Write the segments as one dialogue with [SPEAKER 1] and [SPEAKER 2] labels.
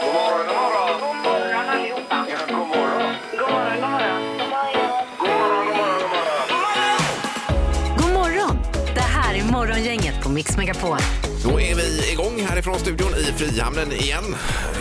[SPEAKER 1] God morgon, god morgon. God morgon allihopa. Ja, god morgon. God morgon, god morgon. God morgon, god morgon, god morgon.
[SPEAKER 2] God morgon! Det här är Morgongänget på Mix Megapol.
[SPEAKER 3] Då är vi igång härifrån studion i Frihamnen igen.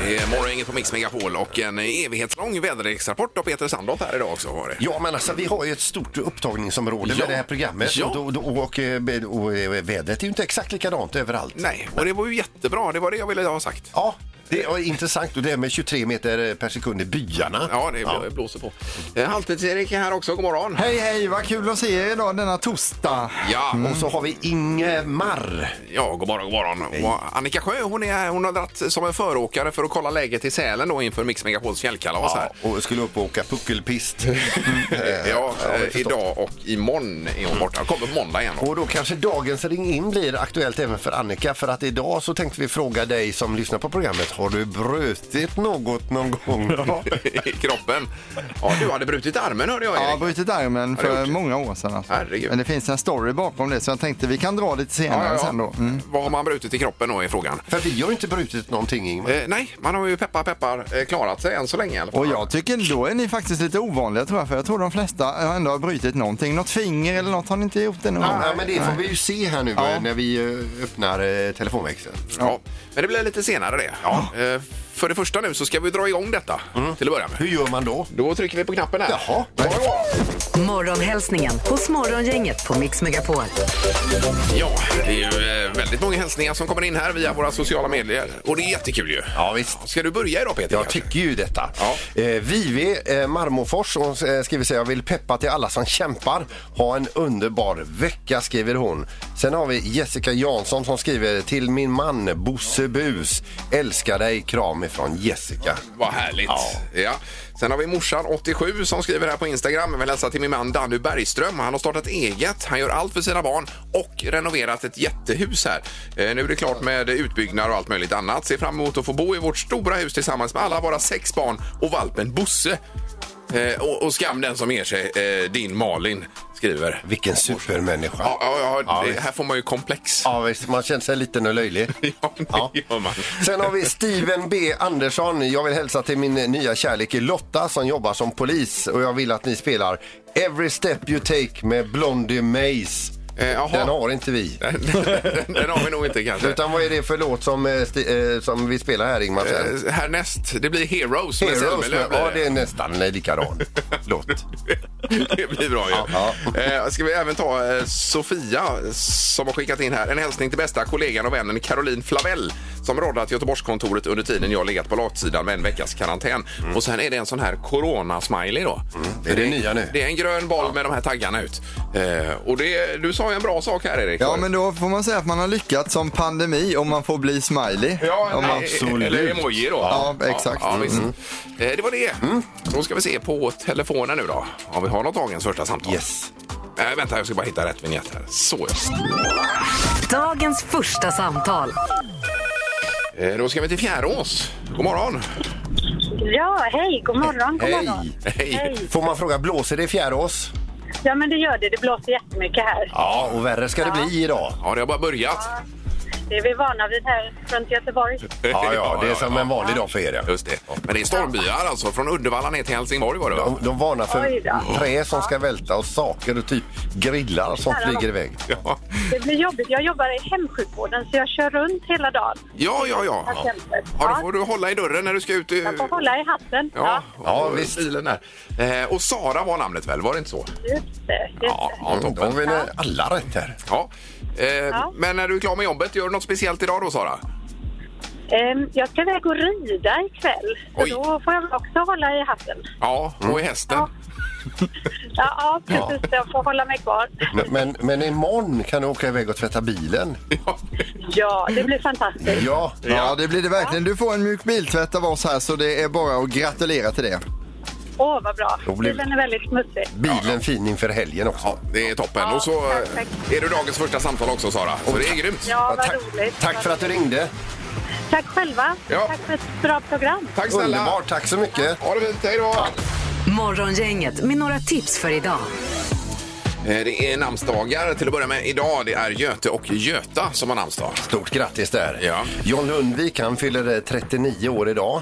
[SPEAKER 3] Det är Morgongänget på Mix Megapol och en evighetslång väderleksrapport av Peter Sandholt här idag också. Var det.
[SPEAKER 4] Ja, men alltså vi har ju ett stort upptagningsområde
[SPEAKER 3] Ja.
[SPEAKER 4] med det här programmet
[SPEAKER 3] Ja.
[SPEAKER 4] och, då- då- och, och, eh, och, eh, vädret är ju inte exakt likadant överallt.
[SPEAKER 3] Nej, och det var ju jättebra. Det var det jag ville ha sagt.
[SPEAKER 4] Ja, det är intressant och det här med 23 meter per sekund i byarna.
[SPEAKER 3] Ja, det bl- blåser på. Eh, Halvtids-Erik är här också. God morgon.
[SPEAKER 5] Hej, hej, vad kul att se er idag denna torsdag.
[SPEAKER 3] Ja,
[SPEAKER 4] Och så har vi Ingemar.
[SPEAKER 3] ja, god morgon, god morgon. Och Annika Sjö, hon, är, hon har dratt som en föråkare för att kolla läget i Sälen då inför Mix Megapols fjällkalas här.
[SPEAKER 4] Ja, och skulle upp och åka puckelpist. Mm.
[SPEAKER 3] Ja, eh, idag och imorgon är hon borta. Kommer på måndag igen. Då.
[SPEAKER 4] Och då kanske dagens ring in blir aktuellt även för Annika för att idag så tänkte vi fråga dig som lyssnar på programmet. Har du brutit något någon gång?
[SPEAKER 3] I kroppen. Ja, du hade brutit armen hörde jag
[SPEAKER 5] Jag har
[SPEAKER 3] Erik.
[SPEAKER 5] brutit armen
[SPEAKER 3] Har du
[SPEAKER 5] för
[SPEAKER 3] gjort?
[SPEAKER 5] många år sedan. Alltså.
[SPEAKER 3] Herregud.
[SPEAKER 5] Men det finns en story bakom det så jag tänkte vi kan dra lite senare sen då. Mm.
[SPEAKER 3] Vad har man brutit i kroppen då är frågan.
[SPEAKER 4] För vi har ju inte brutit någonting Ingemar.
[SPEAKER 3] Eh, nej, man har ju peppar peppar eh, klarat sig än så länge i alla fall.
[SPEAKER 5] Och jag tycker då är ni faktiskt lite ovanliga tror jag för jag tror de flesta ändå har brutit någonting. Något finger eller något har ni inte gjort ännu?
[SPEAKER 4] Ja, men det får vi ju se här nu eh, när vi eh, öppnar eh, telefonväxeln.
[SPEAKER 3] Ja, men det blir lite senare det. Ja. Eh, för det första nu så ska vi dra igång detta till att börja med.
[SPEAKER 4] Hur gör man då?
[SPEAKER 3] Då trycker vi på knappen här.
[SPEAKER 4] Jaha.
[SPEAKER 2] Morgonhälsningen hos Morgongänget på Mix Megapol.
[SPEAKER 3] Ja, det är ju eh, väldigt många hälsningar som kommer in här via våra sociala medier. Och det är jättekul ju.
[SPEAKER 4] Ja, visst.
[SPEAKER 3] Ska du börja idag Peter?
[SPEAKER 4] Jag
[SPEAKER 3] kanske?
[SPEAKER 4] tycker ju detta.
[SPEAKER 3] Ja.
[SPEAKER 4] Eh, Vivi eh, Marmorfors hon eh, skriver så här, jag vill peppa till alla som kämpar. Ha en underbar vecka skriver hon. Sen har vi Jessica Jansson som skriver till min man Bosse Bus. Älskar dig, kram ifrån Jessica.
[SPEAKER 3] Vad härligt. Ja.
[SPEAKER 4] Ja.
[SPEAKER 3] Sen har vi morsan 87 som skriver här på Instagram. Vill hälsa till min man Danny Bergström. Han har startat eget. Han gör allt för sina barn och renoverat ett jättehus här. Eh, nu är det klart med utbyggnad och allt möjligt annat. Ser fram emot att få bo i vårt stora hus tillsammans med alla våra sex barn och valpen Bosse. Eh, och, och skam den som ger sig, eh, din Malin skriver.
[SPEAKER 4] Vilken supermänniska.
[SPEAKER 3] Ja, ja, ja,
[SPEAKER 4] Ja,
[SPEAKER 3] det,
[SPEAKER 4] visst.
[SPEAKER 3] här får man ju komplex.
[SPEAKER 4] Ja, visst, man känner sig liten och löjlig.
[SPEAKER 3] Ja, det gör man.
[SPEAKER 4] Sen har vi Steven B Andersson. Jag vill hälsa till min nya kärlek Lotta som jobbar som polis och jag vill att ni spelar Every step you take med Blondie Mays.
[SPEAKER 3] Eh, jaha.
[SPEAKER 4] Den har inte vi.
[SPEAKER 3] den, den har vi nog inte kanske.
[SPEAKER 4] Utan vad är det för låt som, eh, Sti- eh, som vi spelar här Ingmar? Sen?
[SPEAKER 3] Eh, härnäst, det blir Heroes med
[SPEAKER 4] Heroes,
[SPEAKER 3] Zelmerlöw
[SPEAKER 4] men,
[SPEAKER 3] blir
[SPEAKER 4] ja det är nästan likadan låt.
[SPEAKER 3] det blir bra ju.
[SPEAKER 4] Ja, ja.
[SPEAKER 3] Eh, ska vi även ta eh, Sofia som har skickat in här. En hälsning till bästa kollegan och vännen Caroline Flavell som råddat Göteborgskontoret under tiden jag legat på latsidan med en veckas karantän. Och sen är det en sån här corona-smiley då.
[SPEAKER 4] Mm. Det är det nya nu.
[SPEAKER 3] Det är en grön boll med de här taggarna ut. Eh, och det, du sa ju en bra sak här Erik.
[SPEAKER 5] Ja men då får man säga att man har lyckats som pandemi om man får bli smiley.
[SPEAKER 3] Ja,
[SPEAKER 5] om man...
[SPEAKER 3] nej, Eller emoji då.
[SPEAKER 5] Ja, exakt.
[SPEAKER 3] Ja, visst.
[SPEAKER 4] Mm.
[SPEAKER 3] Eh, Det var det. Då ska vi se på telefonen nu då. Om vi har något dagens första samtal.
[SPEAKER 4] Yes.
[SPEAKER 3] Nej, vänta, jag ska bara hitta rätt vignett här. Så
[SPEAKER 2] Dagens första samtal.
[SPEAKER 3] ja. Eh, Då ska vi till Fjärås. God morgon.
[SPEAKER 6] Ja, hej, god morgon, god morgon.
[SPEAKER 4] Hej!
[SPEAKER 3] Hej.
[SPEAKER 4] Får man fråga, blåser det i Fjärås?
[SPEAKER 6] Ja, men det gör det. Det blåser jättemycket här.
[SPEAKER 4] Ja, och värre ska det bli idag.
[SPEAKER 3] Ja, det har bara börjat.
[SPEAKER 6] Det är vi vana vid här runt Göteborg.
[SPEAKER 4] Ja, ja, det är som
[SPEAKER 3] ja.
[SPEAKER 4] en vanlig dag för er. ja.
[SPEAKER 3] Just det. Men det är stormbyar alltså. Från Uddevalla ner till Helsingborg var det va?
[SPEAKER 4] De, de varnar för
[SPEAKER 6] Oj då.
[SPEAKER 4] trä som ska välta och saker och typ grillar som
[SPEAKER 6] Där har
[SPEAKER 4] flyger
[SPEAKER 6] de.
[SPEAKER 4] iväg.
[SPEAKER 3] Ja,
[SPEAKER 6] Det blir jobbigt. Jag jobbar i hemsjukvården så jag kör runt hela dagen.
[SPEAKER 3] ja, ja. ja.
[SPEAKER 6] Patienter.
[SPEAKER 3] Ja, då
[SPEAKER 6] Ja.
[SPEAKER 3] får du hålla i dörren när du ska ut. i-
[SPEAKER 6] Jag får hålla i hatten.
[SPEAKER 3] Ja,
[SPEAKER 4] Ja,
[SPEAKER 3] och
[SPEAKER 4] visst.
[SPEAKER 3] Bilen där. Eh, och Sara var namnet väl, var det inte så?
[SPEAKER 6] Just det, just
[SPEAKER 3] Ja,
[SPEAKER 6] det.
[SPEAKER 3] ja
[SPEAKER 4] Mm, Då har
[SPEAKER 3] toppen.
[SPEAKER 4] vi nä- alla rätt här.
[SPEAKER 3] Ja. Eh,
[SPEAKER 6] Ja.
[SPEAKER 3] Men när du är klar med jobbet, gör du något speciellt idag då Sara?
[SPEAKER 6] Ehm, Jag ska iväg och rida ikväll. Så
[SPEAKER 3] Oj.
[SPEAKER 6] då får jag väl också hålla i hatten.
[SPEAKER 3] Ja, och i hästen.
[SPEAKER 6] Mm. Ja. Ja, ja precis. Jag får hålla mig kvar.
[SPEAKER 4] Men, men imorgon kan du åka iväg och tvätta bilen.
[SPEAKER 3] Ja.
[SPEAKER 6] Ja, det blir fantastiskt.
[SPEAKER 4] Ja,
[SPEAKER 5] Ja, det blir det verkligen. Du får en mjuk biltvätt av oss här så det är bara att gratulera till det.
[SPEAKER 6] Åh, vad bra.
[SPEAKER 4] Då blir-
[SPEAKER 6] Bilen är väldigt smutsig.
[SPEAKER 4] bilen fin inför helgen också.
[SPEAKER 3] Det är toppen.
[SPEAKER 6] Ja,
[SPEAKER 3] och så eh,
[SPEAKER 6] perfekt.
[SPEAKER 3] är du dagens första samtal också Sara. Så det är grymt.
[SPEAKER 6] Ja, vad
[SPEAKER 4] tack,
[SPEAKER 6] roligt.
[SPEAKER 4] tack för att du ringde.
[SPEAKER 6] Tack själva.
[SPEAKER 3] Ja.
[SPEAKER 6] Tack för ett bra program.
[SPEAKER 3] Tack snälla.
[SPEAKER 4] Underbart, tack så mycket.
[SPEAKER 3] Ha det fint. Hej då.
[SPEAKER 2] Morgongänget med några tips för idag.
[SPEAKER 3] Eh, Det är namnsdagar till att börja med idag. Det är Göte och Göta som har namnsdag.
[SPEAKER 4] Stort grattis där.
[SPEAKER 3] Ja.
[SPEAKER 4] John Lundvik han fyller eh, 39 år idag.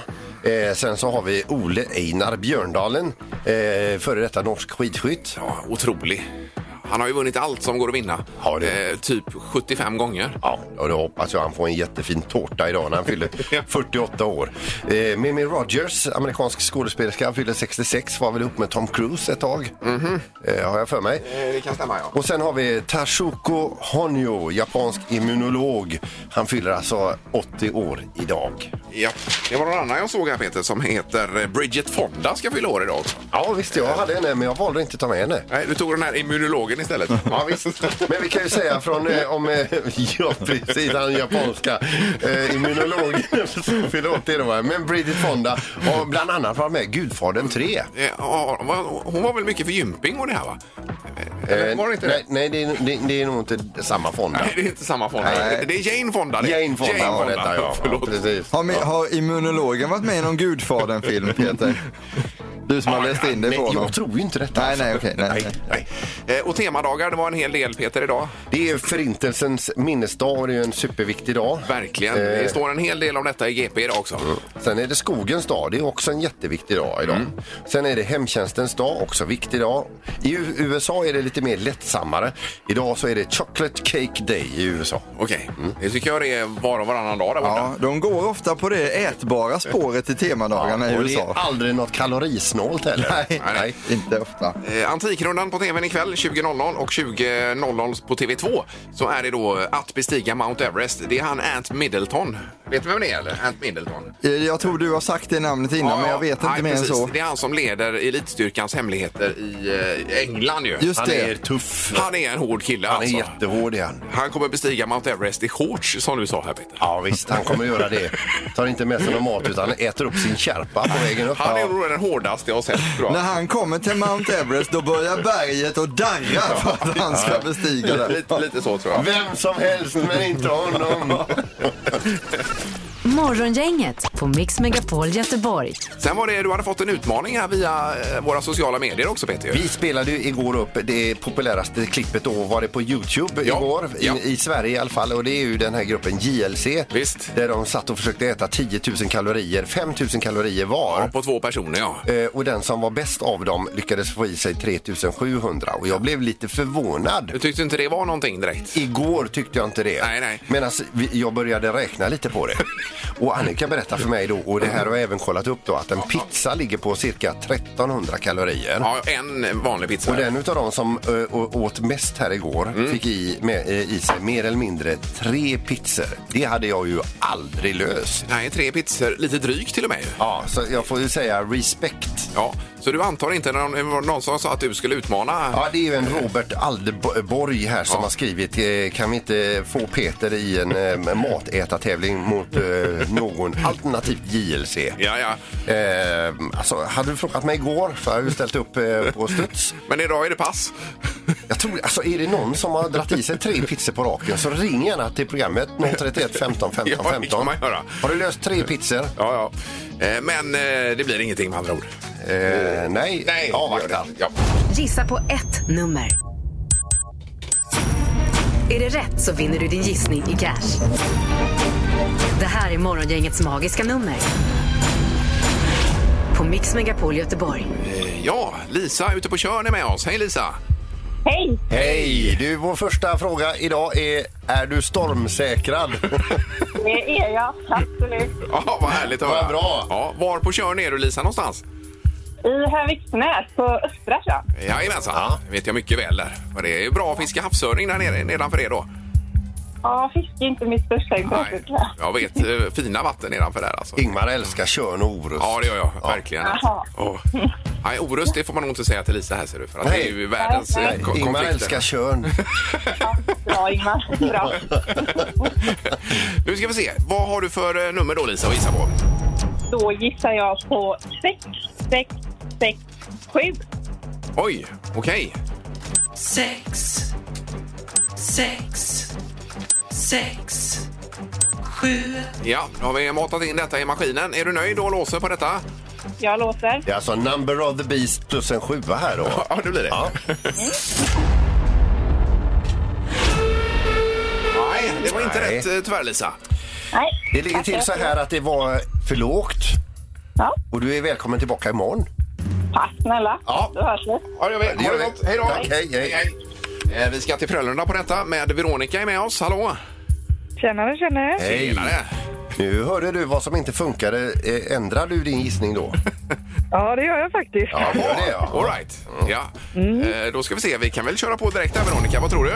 [SPEAKER 4] Eh, sen så har vi Ole Einar Björndalen, eh, före detta norsk skidskytt.
[SPEAKER 3] Ja, otrolig. Han har ju vunnit allt som går att vinna.
[SPEAKER 4] Har det.
[SPEAKER 3] Eh, typ 75 gånger.
[SPEAKER 4] Ja, och då hoppas jag han får en jättefin tårta idag när han fyller 48 år. Eh, Mimi Rogers, amerikansk skådespelerska, fyller 66, var väl ihop med Tom Cruise ett tag, eh, har jag för mig.
[SPEAKER 3] Det kan stämma, ja.
[SPEAKER 4] Och sen har vi Tashuko Honjo, japansk immunolog. Han fyller alltså 80 år idag.
[SPEAKER 3] ja. Det var någon annan jag såg här, Peter, som heter eh, Bridget Fonda ska fylla år idag också.
[SPEAKER 4] Ja visst, jag hade henne men jag valde inte att ta med henne.
[SPEAKER 3] Nej, du tog den här immunologen istället.
[SPEAKER 4] Ja, visst. Men vi kan ju säga från eh, om... Eh, ja, precis. Han japanska eh, immunologen. Förlåt, det var Men Bridget Fonda har bland annat varit med i Gudfadern 3.
[SPEAKER 3] Eh, ja, hon var- Hon var väl mycket för gymping och det här, va? Eh, Eller
[SPEAKER 4] Eh,
[SPEAKER 3] var det inte det?
[SPEAKER 4] nej, nej det, är, det, det är nog inte samma Fonda.
[SPEAKER 3] Nej, det är inte samma Fonda.
[SPEAKER 4] Nej.
[SPEAKER 3] Det är Jane Fonda. det.
[SPEAKER 4] Jane Fonda var detta, ja. ja
[SPEAKER 3] Förlåt.
[SPEAKER 4] precis.
[SPEAKER 5] Har, mi- har immunologen varit med i någon Gudfadern-film, Peter? Du som har läst in dig
[SPEAKER 4] Men
[SPEAKER 5] på honom.
[SPEAKER 4] jag tror ju inte detta.
[SPEAKER 5] Nej,
[SPEAKER 4] alltså.
[SPEAKER 5] nej, okej. nej, nej.
[SPEAKER 3] Nej, nej. Eh, Och temadagar, det var en hel del Peter idag.
[SPEAKER 4] Det är Förintelsens minnesdag och det är ju en superviktig dag.
[SPEAKER 3] Verkligen.
[SPEAKER 4] Eh, Mm.
[SPEAKER 3] Det står en hel del om detta i GP idag också.
[SPEAKER 4] Sen är det skogens dag, det är också en jätteviktig dag idag.
[SPEAKER 3] Mm.
[SPEAKER 4] Sen är det hemtjänstens dag, också viktig dag. I U- USA är det lite mer lättsammare. Idag så är det Chocolate Cake Day i USA.
[SPEAKER 3] Okej,
[SPEAKER 4] Mm.
[SPEAKER 3] det tycker jag det är var och varannan dag där borta.
[SPEAKER 5] Ja, de går ofta på det ätbara spåret i temadagarna i
[SPEAKER 4] och det
[SPEAKER 5] USA.
[SPEAKER 4] är aldrig något kalorisnålt heller.
[SPEAKER 5] Nej, nej, inte ofta.
[SPEAKER 3] Eh, Antikrundan på tvn ikväll 20.00 och 20.00 på TV2 så är det då att bestiga Mount Everest. Det är han Ant Middleton. Vet du vem det är eller? Ant Middleton?
[SPEAKER 5] Eh, Jag tror du har sagt det namnet innan, men jag vet inte
[SPEAKER 3] nej,
[SPEAKER 5] mer
[SPEAKER 3] precis.
[SPEAKER 5] än så.
[SPEAKER 3] Det är han som leder elitstyrkans hemligheter i eh, England ju.
[SPEAKER 5] Just
[SPEAKER 4] Han
[SPEAKER 5] det.
[SPEAKER 4] är tuff.
[SPEAKER 3] Han är en hård kille
[SPEAKER 4] Han är
[SPEAKER 3] alltså.
[SPEAKER 4] jättehård igen.
[SPEAKER 3] Han kommer bestiga Mount Everest i shorts som du sa här Peter.
[SPEAKER 4] Ja visst, han kommer göra det. Tar inte med sig någon mat utan äter upp sin kärpa på vägen upp.
[SPEAKER 3] Han är
[SPEAKER 4] Ja.
[SPEAKER 3] nog den hårdaste jag har sett tror
[SPEAKER 5] När
[SPEAKER 3] jag.
[SPEAKER 5] han kommer till Mount Everest då börjar berget att darra för att han ska bestiga det.
[SPEAKER 3] Lite, lite så tror jag.
[SPEAKER 4] Vem som helst men inte honom.
[SPEAKER 2] Morgongänget på Mix Megapol Göteborg.
[SPEAKER 3] Sen var det, du hade fått en utmaning här via eh, våra sociala medier också Peter. ju.
[SPEAKER 4] Vi spelade ju igår upp det populäraste klippet då var det på Youtube
[SPEAKER 3] Ja,
[SPEAKER 4] igår
[SPEAKER 3] ja.
[SPEAKER 4] I, i Sverige i alla fall och det är ju den här gruppen JLC
[SPEAKER 3] Visst.
[SPEAKER 4] där de satt och försökte äta 10 000 kalorier, 5 000 kalorier
[SPEAKER 3] Ja,
[SPEAKER 4] var.
[SPEAKER 3] på två personer ja.
[SPEAKER 4] Eh, Och den som var bäst av dem lyckades få i sig 3 700 och jag blev lite förvånad.
[SPEAKER 3] Du tyckte inte det var någonting direkt?
[SPEAKER 4] Igår tyckte jag inte det.
[SPEAKER 3] Nej, nej.
[SPEAKER 4] Medan vi- jag började räkna lite på det. Och Annika berättade för mig då, och det här har jag även kollat upp då, att en pizza ligger på cirka 1300 kalorier.
[SPEAKER 3] Ja, en vanlig pizza.
[SPEAKER 4] Och den utav de som ö, å- åt mest här igår fick i, med, eh, i sig mer eller mindre tre pizzor. Det hade jag ju aldrig löst.
[SPEAKER 3] Nej, tre pizzor, lite dryg till och med ju.
[SPEAKER 4] Ja, så jag får ju säga respect.
[SPEAKER 3] Ja, så du antar inte någon, någon som sa att du skulle utmana?
[SPEAKER 4] Ja, det är ju en Robert Aldeborg här som har skrivit eh, Kan vi inte få Peter i en eh, matätartävling mot eh, någon alternativt JLC?
[SPEAKER 3] ja. ja.
[SPEAKER 4] Eh, alltså, hade du frågat mig igår så hade jag ju ställt upp eh, på studs.
[SPEAKER 3] Men idag är det pass.
[SPEAKER 4] Jag tror, alltså är det någon som har dragit i sig tre pizzor på raken så ring gärna till programmet 031 15
[SPEAKER 3] Ja,
[SPEAKER 4] 15
[SPEAKER 3] det
[SPEAKER 4] 15.
[SPEAKER 3] kan man göra.
[SPEAKER 4] Har du löst tre pizzor?
[SPEAKER 3] Ja, ja. Eh, Men eh, det blir ingenting med andra ord.
[SPEAKER 4] Eh, nej,
[SPEAKER 3] Nej,
[SPEAKER 4] avvakta.
[SPEAKER 3] Ja.
[SPEAKER 2] Gissa på ett nummer. Är det rätt så vinner du din gissning i cash. Det här är Morgongängets magiska nummer. På Mix Megapol Göteborg.
[SPEAKER 3] Eh, ja, Lisa ute på Tjörn är med oss. Hej Lisa!
[SPEAKER 6] Hej!
[SPEAKER 4] Hej! Du, vår första fråga idag är Är du stormsäkrad?
[SPEAKER 6] Det är jag, absolut.
[SPEAKER 3] Ja, vad härligt att höra.
[SPEAKER 4] Vad bra.
[SPEAKER 3] Ja, var på Tjörn är du Lisa någonstans?
[SPEAKER 6] I Höviksnäs på Östra Tjörn.
[SPEAKER 3] Jajamensan,
[SPEAKER 4] Ja.
[SPEAKER 3] det vet jag mycket väl där. Men det är ju bra att fiska havsöring där nere nedanför er då.
[SPEAKER 6] Ja, fiske är inte mitt största intresse. tror jag.
[SPEAKER 3] jag vet eh, fina vatten nedanför där alltså.
[SPEAKER 4] Ingmar älskar Körn och Orust.
[SPEAKER 3] Ja, det gör jag. Verkligen.
[SPEAKER 6] Jaha.
[SPEAKER 3] Åh. Nej, Orust det får man nog inte säga till Lisa här ser du. För att det är ju världens eh,
[SPEAKER 6] Nej,
[SPEAKER 3] nej,
[SPEAKER 4] Nej, Ingmar älskar Körn.
[SPEAKER 6] Ja, Bra, Ingmar. Bra.
[SPEAKER 3] nu ska vi se. Vad har du för eh, nummer då Lisa att gissa på?
[SPEAKER 6] Då gissar jag på 6, 6, 6, 7.
[SPEAKER 3] Oj, okej.
[SPEAKER 7] sex, sex, sex, sju,
[SPEAKER 3] Ja, då har vi matat in detta i maskinen. Är du nöjd och låser på detta?
[SPEAKER 6] Jag låser.
[SPEAKER 4] Det är alltså number of the beast plus en sjua här då.
[SPEAKER 3] Ja, det blir det.
[SPEAKER 4] Ja.
[SPEAKER 3] Det var inte
[SPEAKER 4] Nej.
[SPEAKER 3] rätt eh, tyvärr Lisa.
[SPEAKER 6] Nej.
[SPEAKER 4] Det ligger till så här att det var för lågt
[SPEAKER 6] Ja,
[SPEAKER 4] och du är välkommen tillbaka imorgon.
[SPEAKER 6] tack snälla.
[SPEAKER 3] Ja.
[SPEAKER 6] Då hörs vi.
[SPEAKER 3] Ja, jag vet.
[SPEAKER 4] Det
[SPEAKER 3] Ha
[SPEAKER 4] gör
[SPEAKER 3] det
[SPEAKER 4] vi.
[SPEAKER 3] gott. Hej då.
[SPEAKER 4] Tack, hej, hej.
[SPEAKER 3] Eh, Vi ska till Frölunda på detta med Veronica är med oss. Hallå!
[SPEAKER 8] Tjenare, tjenare.
[SPEAKER 4] Hej!
[SPEAKER 3] Tjenare.
[SPEAKER 4] Nu hörde du vad som inte funkade. Eh, Ändrar du din gissning då?
[SPEAKER 8] Ja, det gör jag faktiskt.
[SPEAKER 4] Ja, det gör det ja. Mm.
[SPEAKER 3] All right. Ja. Eh, Då ska vi se. Vi kan väl köra på direkt där Veronica. Vad tror du?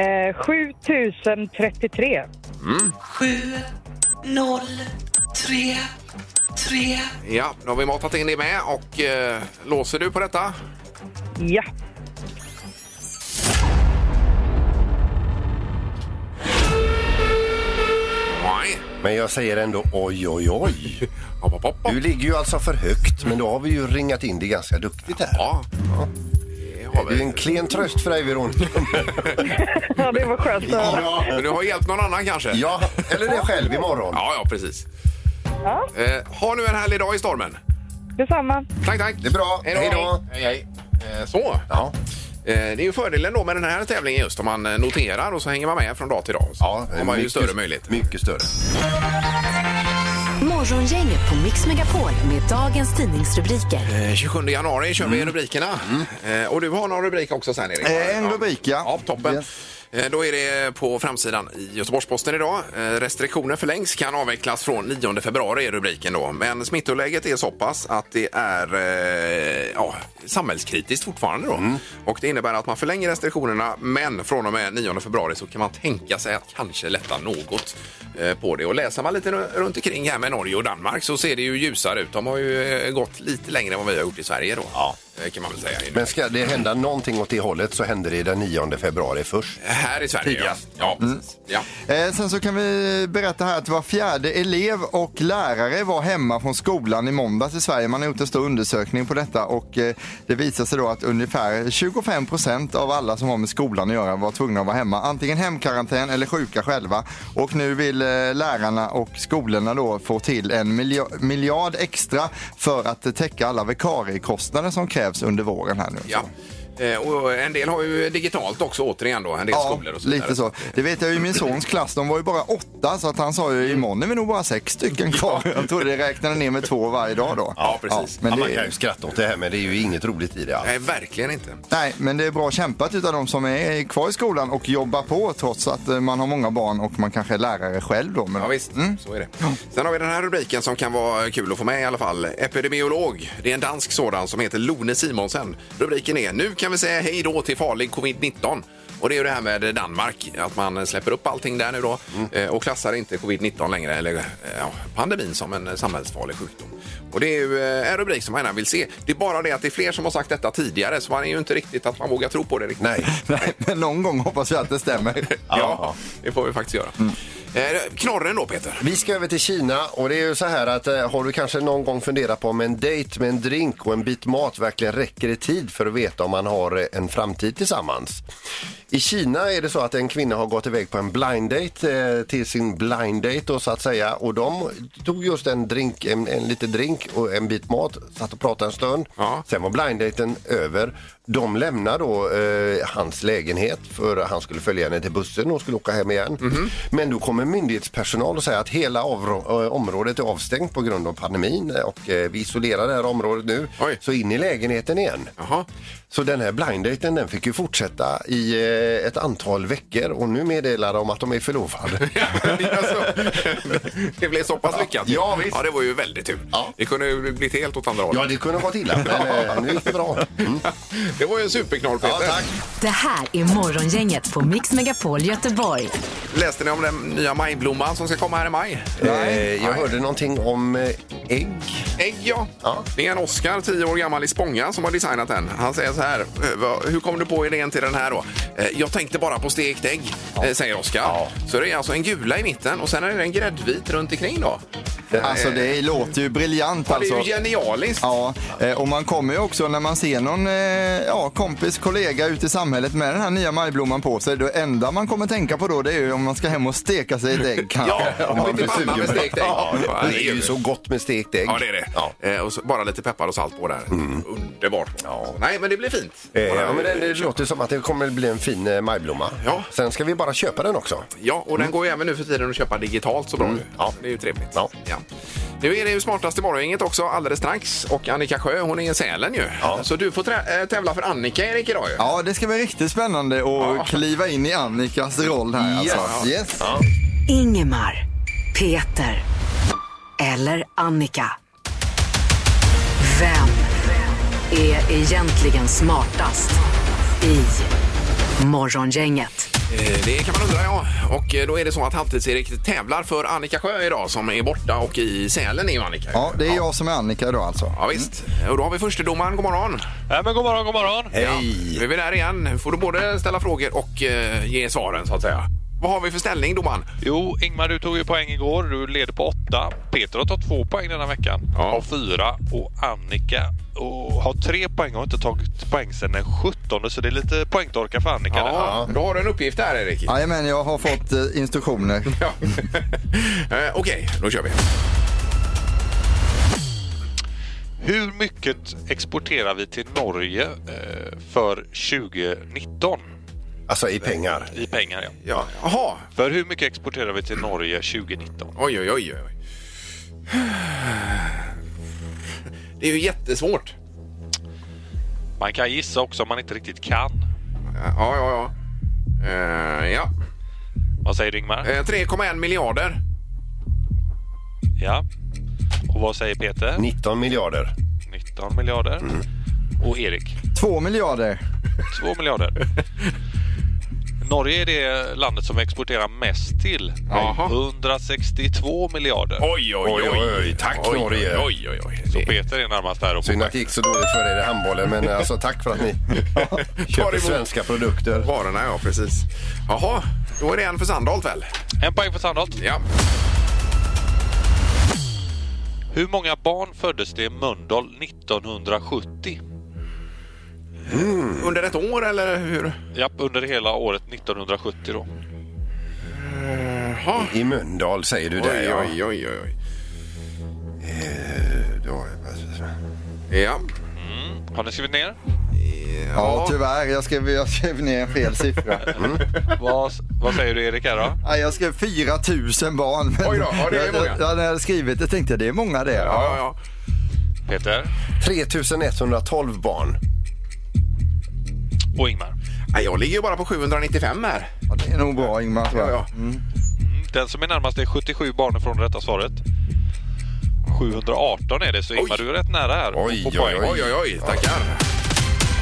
[SPEAKER 8] Eh, 7033.
[SPEAKER 7] 7 0 3 3
[SPEAKER 3] Ja, nu har vi matat in det med och eh, låser du på detta?
[SPEAKER 8] Ja.
[SPEAKER 3] Nej.
[SPEAKER 4] Men jag säger ändå oj, oj, oj.
[SPEAKER 3] Hopp, hopp, hopp.
[SPEAKER 4] Du ligger ju alltså för högt, men då har vi ju ringat in det ganska duktigt här.
[SPEAKER 3] Ja. Det har
[SPEAKER 4] Det är
[SPEAKER 3] vi.
[SPEAKER 4] en klen tröst för dig, Veronica.
[SPEAKER 8] ja, det var skönt att höra.
[SPEAKER 3] Men du har hjälpt någon annan kanske?
[SPEAKER 4] Ja, eller dig själv imorgon.
[SPEAKER 3] Ja, ja precis. Eh, ha nu en härlig dag i stormen.
[SPEAKER 8] Detsamma.
[SPEAKER 3] Tack, tack.
[SPEAKER 4] Det är bra. Hej då.
[SPEAKER 3] Hej, hej. Eh, så.
[SPEAKER 4] Ja,
[SPEAKER 3] Eh, Det är ju fördelen då med den här tävlingen just om man eh, noterar och så hänger man med från dag till dag. Så
[SPEAKER 4] ja
[SPEAKER 3] har man ju större möjlighet.
[SPEAKER 4] Mycket större.
[SPEAKER 2] Morgongänget på Mix Megapol med dagens tidningsrubriker.
[SPEAKER 3] Eh, 27 januari kör vi rubrikerna. Eh, Och du har någon rubrik också sen Erik?
[SPEAKER 5] Eh, en
[SPEAKER 3] Ja.
[SPEAKER 5] rubrik, ja.
[SPEAKER 3] Ja, toppen.
[SPEAKER 5] Yes.
[SPEAKER 3] Eh, Då är det på framsidan i Göteborgs-Posten idag. Eh, Restriktioner förlängs, kan avvecklas från 9 februari är rubriken då. Men smittoläget är så pass att det är eh, ja, samhällskritiskt fortfarande då. Och det innebär att man förlänger restriktionerna men från och med 9 februari så kan man tänka sig att kanske lätta något eh, på det. Och läser man lite ru- runt omkring här med Norge och Danmark så ser det ju ljusare ut. De har ju eh, gått lite längre än vad vi har gjort i Sverige då. Ja. Kan man väl säga.
[SPEAKER 4] Men ska det hända någonting åt det hållet så händer det den 9 februari först.
[SPEAKER 3] Här i Sverige, ja.
[SPEAKER 4] Tidigast.
[SPEAKER 3] Ja, precis. ja.
[SPEAKER 5] Eh, sen så kan vi berätta här att var fjärde elev och lärare var hemma från skolan i måndags i Sverige. Man har gjort en stor undersökning på detta och eh, det visar sig då att ungefär 25 procent av alla som har med skolan att göra var tvungna att vara hemma. Antingen hemkarantän eller sjuka själva. Och nu vill eh, lärarna och skolorna då få till en miljo- miljard extra för att eh, täcka alla vikariekostnader som krävs under våren här nu.
[SPEAKER 3] Ja. Eh, Och en del har ju digitalt också återigen då, en del skolor och så vidare.
[SPEAKER 5] lite så. Det vet jag ju i min sons klass, de var ju bara åtta så att han sa ju imorgon är vi nog bara sex stycken kvar. Jag tror det räknade ner med två varje dag då.
[SPEAKER 3] Ja, precis.
[SPEAKER 5] men
[SPEAKER 4] Ja, man
[SPEAKER 5] det,
[SPEAKER 4] kan ju skratta åt det här men det är ju inget roligt i det alls.
[SPEAKER 3] Nej, verkligen inte.
[SPEAKER 5] Nej, men det är bra kämpat utav de som är kvar i skolan och jobbar på trots att eh, man har många barn och man kanske är lärare själv då. Men
[SPEAKER 3] Mm. Ja, visst, så är det. Sen har vi den här rubriken som kan vara kul att få med i alla fall. Epidemiolog. Det är en dansk sådan som heter Lone Simonsen. Rubriken är Nu kan vi säga hej då till farlig covid-19. Och det är ju det här med Danmark, att man släpper upp allting där nu då eh, och klassar inte covid-19 längre, eller eh, ja, pandemin, som en samhällsfarlig sjukdom. Och det är ju eh, en rubrik som man gärna vill se. Det är bara det att det är fler som har sagt detta tidigare så man är ju inte riktigt att man vågar tro på det riktigt.
[SPEAKER 4] Nej.
[SPEAKER 5] Nej, men någon gång hoppas vi att det stämmer.
[SPEAKER 3] Ja, det får vi faktiskt göra. Eh, knorren då, Peter?
[SPEAKER 4] Vi ska över till Kina och det är ju så här att eh, har du kanske någon gång funderat på om en dejt med en drink och en bit mat verkligen räcker i tid för att veta om man har eh, en framtid tillsammans? I Kina är det så att en kvinna har gått iväg på en blind date eh, till sin blind date då, så att säga och de tog just en drink, en, en liten drink och en bit mat, satt och pratade en stund.
[SPEAKER 3] Ja.
[SPEAKER 4] Sen var blinddaten över. De lämnar då eh, hans lägenhet för han skulle följa henne till bussen och skulle åka hem igen.
[SPEAKER 3] Mhm.
[SPEAKER 4] Men då kommer myndighetspersonal och säger att hela avro- eh, området är avstängt på grund av pandemin eh, och eh, vi isolerar det här området nu.
[SPEAKER 3] Oj.
[SPEAKER 4] Så in i lägenheten igen.
[SPEAKER 3] Jaha.
[SPEAKER 4] Så den här blinddaten den fick ju fortsätta i eh, ett antal veckor och nu meddelar de att de är förlovade.
[SPEAKER 3] alltså, det blev så pass lyckat.
[SPEAKER 4] Ja, visst.
[SPEAKER 3] ja, det var ju väldigt tur.
[SPEAKER 4] Ja.
[SPEAKER 3] Det kunde ju blivit helt åt andra hållet.
[SPEAKER 4] Ja, det kunde gått illa, men eh, nu gick det bra. Mm.
[SPEAKER 3] det var ju en superknorr, Peter.
[SPEAKER 2] Det här är Morgongänget på Mix Megapol Göteborg.
[SPEAKER 3] Läste ni om den nya majblomman som ska komma här i maj?
[SPEAKER 4] Eh, jag hörde någonting om eh, ägg.
[SPEAKER 3] Ägg, ja.
[SPEAKER 4] Ja.
[SPEAKER 3] Det är en Oscar, 10 år gammal i Spånga, som har designat den. Han säger så här, "Eh, vad- hur kom du på idén till den här då? "Eh, Jag tänkte bara på stekt ägg, eh, säger Oscar. Så det är alltså en gula i mitten och sen är det en gräddvit runt omkring då.
[SPEAKER 5] Alltså det låter ju briljant
[SPEAKER 3] Ja, det är
[SPEAKER 5] alltså.
[SPEAKER 3] ju genialiskt.
[SPEAKER 5] Ja, eh, och man kommer ju också när man ser någon eh, ja, kompis, kollega ute i samhället med den här nya majblomman på sig. Det enda man kommer tänka på då det är ju om man ska hem och steka sig ett ägg kanske.
[SPEAKER 3] Ja, om man blir panna med stekt ägg. Ja,
[SPEAKER 4] Det är ju så gott med stekt ägg.
[SPEAKER 3] Ja, det är det. Eh, och så bara lite peppar och salt på där. Underbart. Så, nej, men det blir fint.
[SPEAKER 4] Eh, Ja, men det, det låter som att det kommer bli en fin eh, majblomma.
[SPEAKER 3] Ja.
[SPEAKER 4] Sen ska vi bara köpa den också.
[SPEAKER 3] Ja, och den går ju även nu för tiden att köpa digitalt så bra ju.
[SPEAKER 4] Ja.
[SPEAKER 3] Det är ju trevligt.
[SPEAKER 4] Ja.
[SPEAKER 3] Nu är det ju smartaste morgongänget också alldeles strax och Annika Sjö hon är i Sälen ju. Så du får trä- eh, tävla för Annika Erik idag ju.
[SPEAKER 5] Ja, det ska bli riktigt spännande att kliva in i Annikas roll här alltså. Yes.
[SPEAKER 2] Ingemar, Peter eller Annika. Vem är egentligen smartast i Morgongänget?
[SPEAKER 3] Eh, Det kan man undra ja. Och eh, då är det så att Halvtids-Erik tävlar för Annika Sjö idag som är borta och i Sälen är ju Annika.
[SPEAKER 5] Ja, det är jag som är Annika idag alltså.
[SPEAKER 3] Ja, visst. Och då har vi förstedomaren. God morgon!
[SPEAKER 9] Ja, men god morgon, god morgon.
[SPEAKER 3] Nu är vi där igen. Får du både ställa frågor och eh, ge svaren så att säga. Vad har vi för ställning domaren?
[SPEAKER 9] Jo, Ingmar, du tog ju poäng igår. Du leder på åtta. Peter har tagit två poäng denna veckan.
[SPEAKER 3] Ja.
[SPEAKER 9] Har fyra. Och Annika och har tre poäng och har inte tagit poäng sedan den 17. Så det är lite poängtorka för Annika. där.
[SPEAKER 3] Ja, då har du en uppgift här Erik.
[SPEAKER 5] Jajamän, jag har fått eh, instruktioner.
[SPEAKER 3] Ja. Eh, Okej, då kör vi.
[SPEAKER 9] Hur mycket exporterar vi till Norge eh, för 2019?
[SPEAKER 4] Alltså i pengar.
[SPEAKER 9] I pengar, ja.
[SPEAKER 3] Ja. Jaha,
[SPEAKER 9] För hur mycket exporterar vi till Norge 2019?
[SPEAKER 3] oj, oj, oj. oj. Det är ju jättesvårt.
[SPEAKER 9] Man kan gissa också om man inte riktigt kan.
[SPEAKER 3] Ja, ja, ja. Eh, ja.
[SPEAKER 9] Vad säger du, Ingmar?
[SPEAKER 3] Eh, 3,1 miljarder.
[SPEAKER 9] Ja. Och vad säger Peter?
[SPEAKER 4] 19 miljarder.
[SPEAKER 9] 19 miljarder.
[SPEAKER 3] Mm.
[SPEAKER 9] Och Erik?
[SPEAKER 5] Två miljarder.
[SPEAKER 9] 2 miljarder. Norge är det landet som vi exporterar mest till.
[SPEAKER 3] Jaha.
[SPEAKER 9] 162 miljarder.
[SPEAKER 3] Oj,
[SPEAKER 4] Oj, oj, oj. Tack,
[SPEAKER 3] oj,
[SPEAKER 4] Norge.
[SPEAKER 3] Oj, oj, oj.
[SPEAKER 9] Så Peter är närmast där uppe.
[SPEAKER 4] Synd att det gick så dåligt för er i handbollen, men alltså tack för att ni köper
[SPEAKER 3] emot.
[SPEAKER 4] svenska produkter.
[SPEAKER 3] Varorna, ja precis. Jaha, då är det en för Sandholt väl?
[SPEAKER 9] En poäng för Sandholt.
[SPEAKER 3] Ja.
[SPEAKER 9] Hur många barn föddes det i Mölndal 1970?
[SPEAKER 3] Under ett år eller hur?
[SPEAKER 9] Japp, under hela året 1970 då.
[SPEAKER 3] Jaha.
[SPEAKER 4] I Mölndal säger du det,
[SPEAKER 3] Oj,
[SPEAKER 4] ja.
[SPEAKER 3] oj, oj, oj, oj.
[SPEAKER 4] Eh, då-
[SPEAKER 3] Ja.
[SPEAKER 9] Har ni skrivit ner?
[SPEAKER 5] Ja, tyvärr. Jag skrev, jag skrev ner fel siffra.
[SPEAKER 9] Vad, vad säger du Erik här då?
[SPEAKER 5] Nej, jag skrev 4 000 barn. men
[SPEAKER 3] Oj då, ja, det är
[SPEAKER 5] jag-
[SPEAKER 3] många.
[SPEAKER 5] jag- jag- När jag skrivit det tänkte jag det är många det.
[SPEAKER 3] Ja, ja, ja.
[SPEAKER 9] Peter
[SPEAKER 4] 3112 barn.
[SPEAKER 9] och Ingmar.
[SPEAKER 3] Nej, Jag ligger ju bara på 795 här.
[SPEAKER 5] Ja, Det är nog bra Ingmar tror
[SPEAKER 3] Ja,
[SPEAKER 5] jag.
[SPEAKER 3] ja.
[SPEAKER 9] Mm, Den som är närmast är 77 barn från det rätta svaret. 718 är det, så Ingmar
[SPEAKER 3] Oj.
[SPEAKER 9] du är rätt nära här.
[SPEAKER 4] Oj,
[SPEAKER 9] på
[SPEAKER 4] oj,
[SPEAKER 9] poäng.
[SPEAKER 3] Oj, oj, oj. Tackar.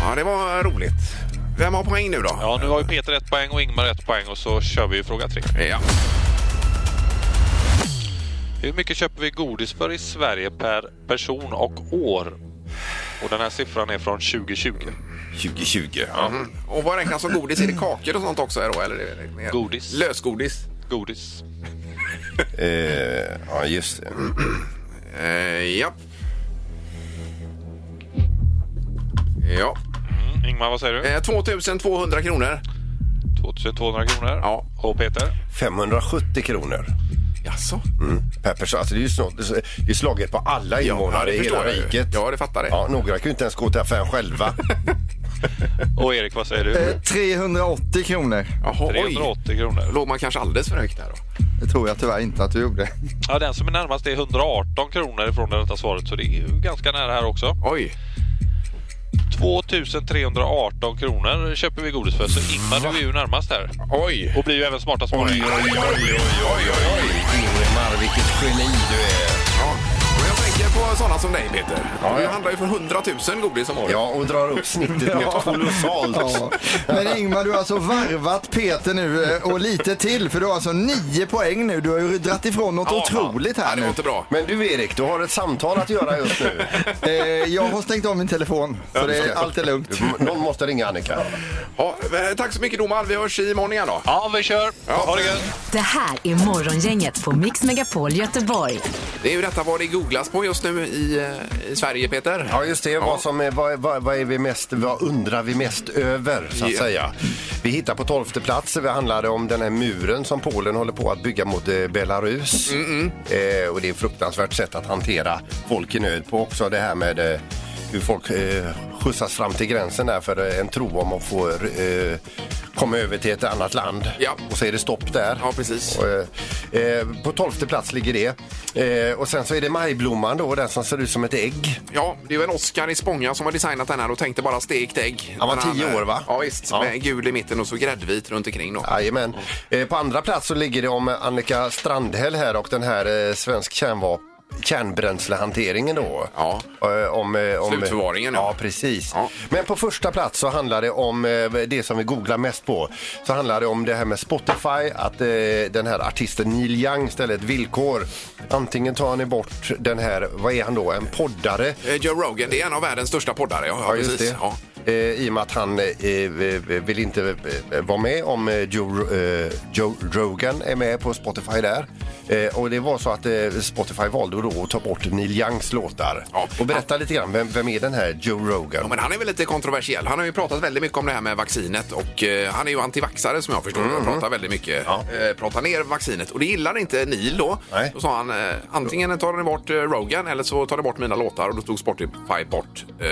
[SPEAKER 3] Ja, det var roligt. Vem har poäng nu då?
[SPEAKER 9] Ja, nu har ju Peter ett poäng och Ingmar ett poäng och så kör vi ju fråga tre.
[SPEAKER 3] Ja.
[SPEAKER 9] Hur mycket köper vi godis för i Sverige per person och år? Och den här siffran är från 2020.
[SPEAKER 4] 2020. Ja.
[SPEAKER 3] Och vad räknas som godis? Är det kakor och sånt också? här Då, eller är det mer?
[SPEAKER 9] Godis.
[SPEAKER 3] Lösgodis.
[SPEAKER 9] Godis.
[SPEAKER 4] Eh, ja, just det.
[SPEAKER 3] Eh, ja. Ja.
[SPEAKER 9] Mm, Ingmar, vad säger du?
[SPEAKER 3] Eh, 2200 kronor.
[SPEAKER 9] 2200 kronor.
[SPEAKER 3] Ja.
[SPEAKER 9] Och Peter?
[SPEAKER 4] 570 kronor.
[SPEAKER 3] Jaså?
[SPEAKER 4] per person. Alltså det är ju snart, det är slaget på alla invånare i hela
[SPEAKER 3] jag ju.
[SPEAKER 4] riket.
[SPEAKER 3] Ja, det fattar jag.
[SPEAKER 4] Ja, några kan ju inte ens gå till affären själva.
[SPEAKER 9] Och Erik, vad säger
[SPEAKER 5] Eh,
[SPEAKER 9] du?
[SPEAKER 5] 380 kronor.
[SPEAKER 3] Jaha, oj.
[SPEAKER 9] 380 kronor.
[SPEAKER 3] Låg man kanske alldeles för högt där då?
[SPEAKER 5] Det tror jag tyvärr inte att du gjorde.
[SPEAKER 9] Ja, den som är närmast är 118 kronor från det rätta svaret, så det är ju ganska nära här också.
[SPEAKER 3] Oj.
[SPEAKER 9] 2318 kronor köper vi godis för, så Ingmar, du är ju närmast här.
[SPEAKER 3] Oj.
[SPEAKER 9] Och blir ju även smartast på
[SPEAKER 4] Oj, oj, oj, oj, oj, oj, oj. Ingemar, vilket geni du är.
[SPEAKER 3] Ja. Och jag tänker på sådana som dig Peter. Du handlar ju för 100 000 godis om året.
[SPEAKER 4] Ja, och drar upp snittet något kolossalt.
[SPEAKER 5] Ja. Men Ingmar, du har alltså varvat Peter nu eh, och lite till för du har alltså nio poäng nu. Du har ju dragit ifrån något
[SPEAKER 3] Ja,
[SPEAKER 5] otroligt
[SPEAKER 3] ja,
[SPEAKER 5] här
[SPEAKER 3] det
[SPEAKER 5] nu.
[SPEAKER 3] var inte bra.
[SPEAKER 4] Men du Erik, du har ett samtal att göra just nu.
[SPEAKER 5] Eh, Jag har stängt av min telefon, så det, är- allt är lugnt.
[SPEAKER 4] Någon måste ringa Annika.
[SPEAKER 3] Ja, eh, tack så mycket domaren. Vi hörs imorgon igen då.
[SPEAKER 9] Ja, vi kör. Ha det gött.
[SPEAKER 2] Det här är Morgongänget på Mix Megapol Göteborg.
[SPEAKER 3] Det är ju detta vad det googlas på just nu i, eh, i Sverige Peter.
[SPEAKER 4] Ja, just det. Vad, som är, vad, vad, vad, är vi mest, vad undrar vi mest över, så att
[SPEAKER 3] Ja.
[SPEAKER 4] säga? Vi hittar på tolfte plats. Vi handlade om den här muren som Polen håller på att bygga mot eh, Belarus.
[SPEAKER 3] Mm,
[SPEAKER 4] Eh, och det är ett fruktansvärt sätt att hantera folk i nöd på också. Det här med eh, hur folk eh, skjutsas fram till gränsen där för eh, en tro om att få eh, komma över till ett annat land.
[SPEAKER 3] Ja.
[SPEAKER 4] Och så är det stopp där.
[SPEAKER 3] Ja, precis.
[SPEAKER 4] Och, eh, eh, på tolfte plats ligger det. Eh, och sen så är det majblomman då, den som ser ut som ett ägg.
[SPEAKER 3] Ja, det är ju en Oscar i Spånga som har designat den här och tänkte bara stekt ägg.
[SPEAKER 4] Han var
[SPEAKER 3] Men
[SPEAKER 4] tio
[SPEAKER 3] eh,
[SPEAKER 4] år, va?
[SPEAKER 3] Ja, visst.
[SPEAKER 4] Ja.
[SPEAKER 3] Med gul i mitten och så gräddvit runt omkring då.
[SPEAKER 4] Jajamän. Eh, På andra plats så ligger det om Annika Strandhäll här och den här eh, svensk kärnvapen kärnbränslehanteringen då.
[SPEAKER 3] Ja.
[SPEAKER 4] Eh, Om, eh, om,
[SPEAKER 3] Slutförvaringen, ja.
[SPEAKER 4] ja. precis.
[SPEAKER 3] Ja.
[SPEAKER 4] Men på första plats så handlar det om eh, det som vi googlar mest på. Så handlar det om det här med Spotify, att eh, den här artisten Neil Young ställer ett villkor. Antingen tar han bort den här, vad är han då, en poddare
[SPEAKER 3] Eh, Joe Rogan, det är en av världens största poddare. Ja, ja,
[SPEAKER 4] Ja, just
[SPEAKER 3] precis.
[SPEAKER 4] det.
[SPEAKER 3] Ja.
[SPEAKER 4] Eh, I och med att han eh, eh, vill inte eh, vara med om eh, Joe, eh, Joe Rogan är med på Spotify där. Eh, och det var så att eh, Spotify valde då att ta bort Neil Youngs låtar.
[SPEAKER 3] Ja.
[SPEAKER 4] Och berätta lite grann, vem, vem är den här Joe
[SPEAKER 3] Ja,
[SPEAKER 4] Rogan?
[SPEAKER 3] men han är väl lite kontroversiell. Han har ju pratat väldigt mycket om det här med vaccinet och eh, han är ju antivaxare som jag förstår mm Pratar väldigt mycket,
[SPEAKER 4] Ja.
[SPEAKER 3] eh, pratar ner vaccinet och det gillar inte Neil då.
[SPEAKER 4] Nej.
[SPEAKER 3] Då sa han eh, antingen tar ni bort eh, Rogan eller så tar ni bort mina låtar och då tog Spotify bort eh,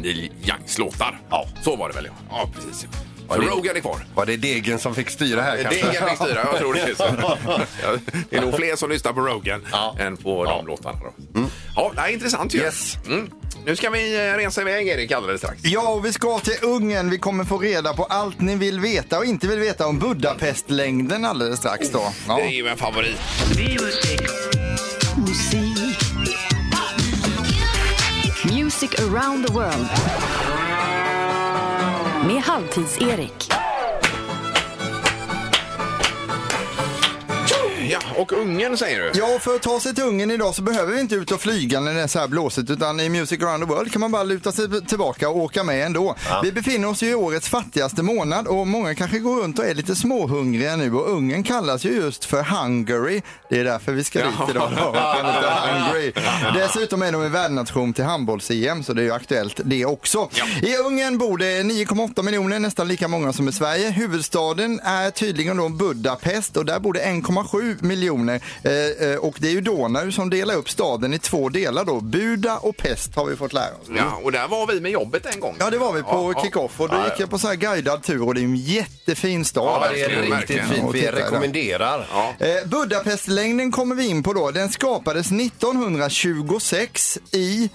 [SPEAKER 3] Neil Youngs låtar.
[SPEAKER 4] Ja.
[SPEAKER 3] Så var det väl ja. Ja, precis.
[SPEAKER 4] Ja,
[SPEAKER 3] Så
[SPEAKER 4] det-
[SPEAKER 3] Rogan är kvar.
[SPEAKER 4] Var det degen som fick styra här
[SPEAKER 3] Det
[SPEAKER 4] kanske?
[SPEAKER 3] är Henrik Styra, jag tror det. Är så. Ja, det är nog fler som lyssnar på Rogan
[SPEAKER 4] Ja.
[SPEAKER 3] än på
[SPEAKER 4] Ja. Mm.
[SPEAKER 3] de låtarna. Då. Ja, det är intressant ju.
[SPEAKER 4] Yes.
[SPEAKER 3] Mm. Nu ska vi eh, resa iväg Erik alldeles strax.
[SPEAKER 5] Ja, och vi ska till Ungern. Vi kommer få reda på allt ni vill veta och inte vill veta om Budapestlängden alldeles strax då. Ja.
[SPEAKER 3] Det är ju en favorit.
[SPEAKER 2] Music around the world. Med Halvtids-Erik.
[SPEAKER 3] Ja, och ungen säger du?
[SPEAKER 5] Ja, och för att ta sig till Ungern idag så behöver vi inte ut och flyga när det är så här blåsigt utan i Music around the world kan man bara luta sig tillbaka och åka med ändå. Vi befinner oss ju i årets fattigaste månad och många kanske går runt och är lite småhungriga nu och Ungern kallas ju just för Hungary. Det är därför vi ska dit idag. då. Den heter Hungary. Dessutom är de en värdnation till handbolls-EM så det är ju aktuellt det också. I Ungern bor det 9,8 miljoner, nästan lika många som i Sverige. Huvudstaden är tydligen då Budapest och där bor det 1,7 miljoner. Eh, eh, och det är ju Donau som delar upp staden i två delar då. Buda och Pest har vi fått lära oss.
[SPEAKER 3] Ja, och där var vi med jobbet en gång.
[SPEAKER 5] Ja, det var vi på
[SPEAKER 3] Ja, ja.
[SPEAKER 5] kick-off och då gick jag på så här guidad tur och det är ju en jättefin stad.
[SPEAKER 4] Ja, det är
[SPEAKER 3] verkligen,
[SPEAKER 4] riktigt
[SPEAKER 3] verkligen.
[SPEAKER 4] fint.
[SPEAKER 5] Och
[SPEAKER 4] Vi
[SPEAKER 5] titta där.
[SPEAKER 4] rekommenderar.
[SPEAKER 5] Eh, Budapestlängden kommer vi in på då. Den skapades 1926 i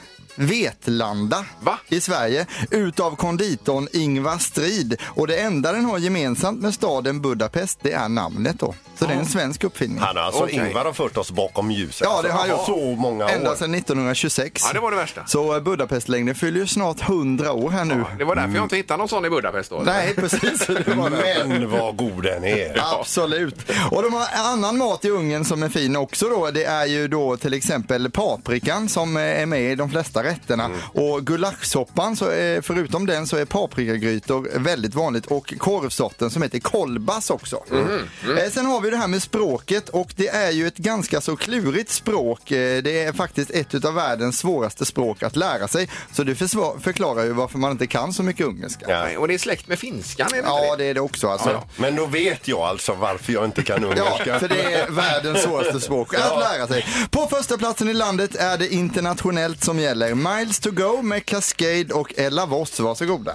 [SPEAKER 5] Vetlanda
[SPEAKER 3] Va?
[SPEAKER 5] i Sverige utav konditorn Ingvar Strid. Och det enda den har gemensamt med staden Budapest det är namnet då. Så det är en svensk uppfinning.
[SPEAKER 4] Han har alltså
[SPEAKER 3] Okej.
[SPEAKER 4] Ingvar har fört oss bakom ljuset.
[SPEAKER 5] Ja, det har han
[SPEAKER 4] Alltså,
[SPEAKER 5] gjort.
[SPEAKER 4] Så många
[SPEAKER 5] Ända
[SPEAKER 4] år.
[SPEAKER 5] sedan 1926.
[SPEAKER 3] Ja, det var det värsta.
[SPEAKER 5] Så eh, Budapestlängden fyller ju snart 100 år här nu.
[SPEAKER 3] Det var därför jag inte hittade någon sån i Budapest då.
[SPEAKER 5] Nej, precis. Det var det.
[SPEAKER 4] Men vad god den är.
[SPEAKER 5] Absolut. Och de har annan mat i Ungern som är fin också då. Det är ju då till exempel paprikan som eh, är med i de flesta rätterna.
[SPEAKER 3] Mm.
[SPEAKER 5] Och gulaschsoppan, så är, förutom den så är paprikagrytor väldigt vanligt. Och korvsorten som heter kolbas också.
[SPEAKER 3] Mm.
[SPEAKER 5] Eh, Sen har vi det här med språket och det är ju ett ganska så klurigt språk. Eh, Det är faktiskt ett av världens svåraste språk att lära sig. Så det försvar- förklarar ju varför man inte kan så mycket ungerska.
[SPEAKER 4] Ja.
[SPEAKER 3] Nej, Och det är släkt med finskan, är det
[SPEAKER 5] Ja,
[SPEAKER 3] inte
[SPEAKER 5] det är det också alltså.
[SPEAKER 3] Ja, ja.
[SPEAKER 4] Men då vet jag alltså varför jag inte kan ungerska.
[SPEAKER 5] Ja, för det är världens svåraste språk att lära sig. På första platsen i landet är det internationellt som gäller. Miles to go med Cascade och Ella Voss. Varsågoda.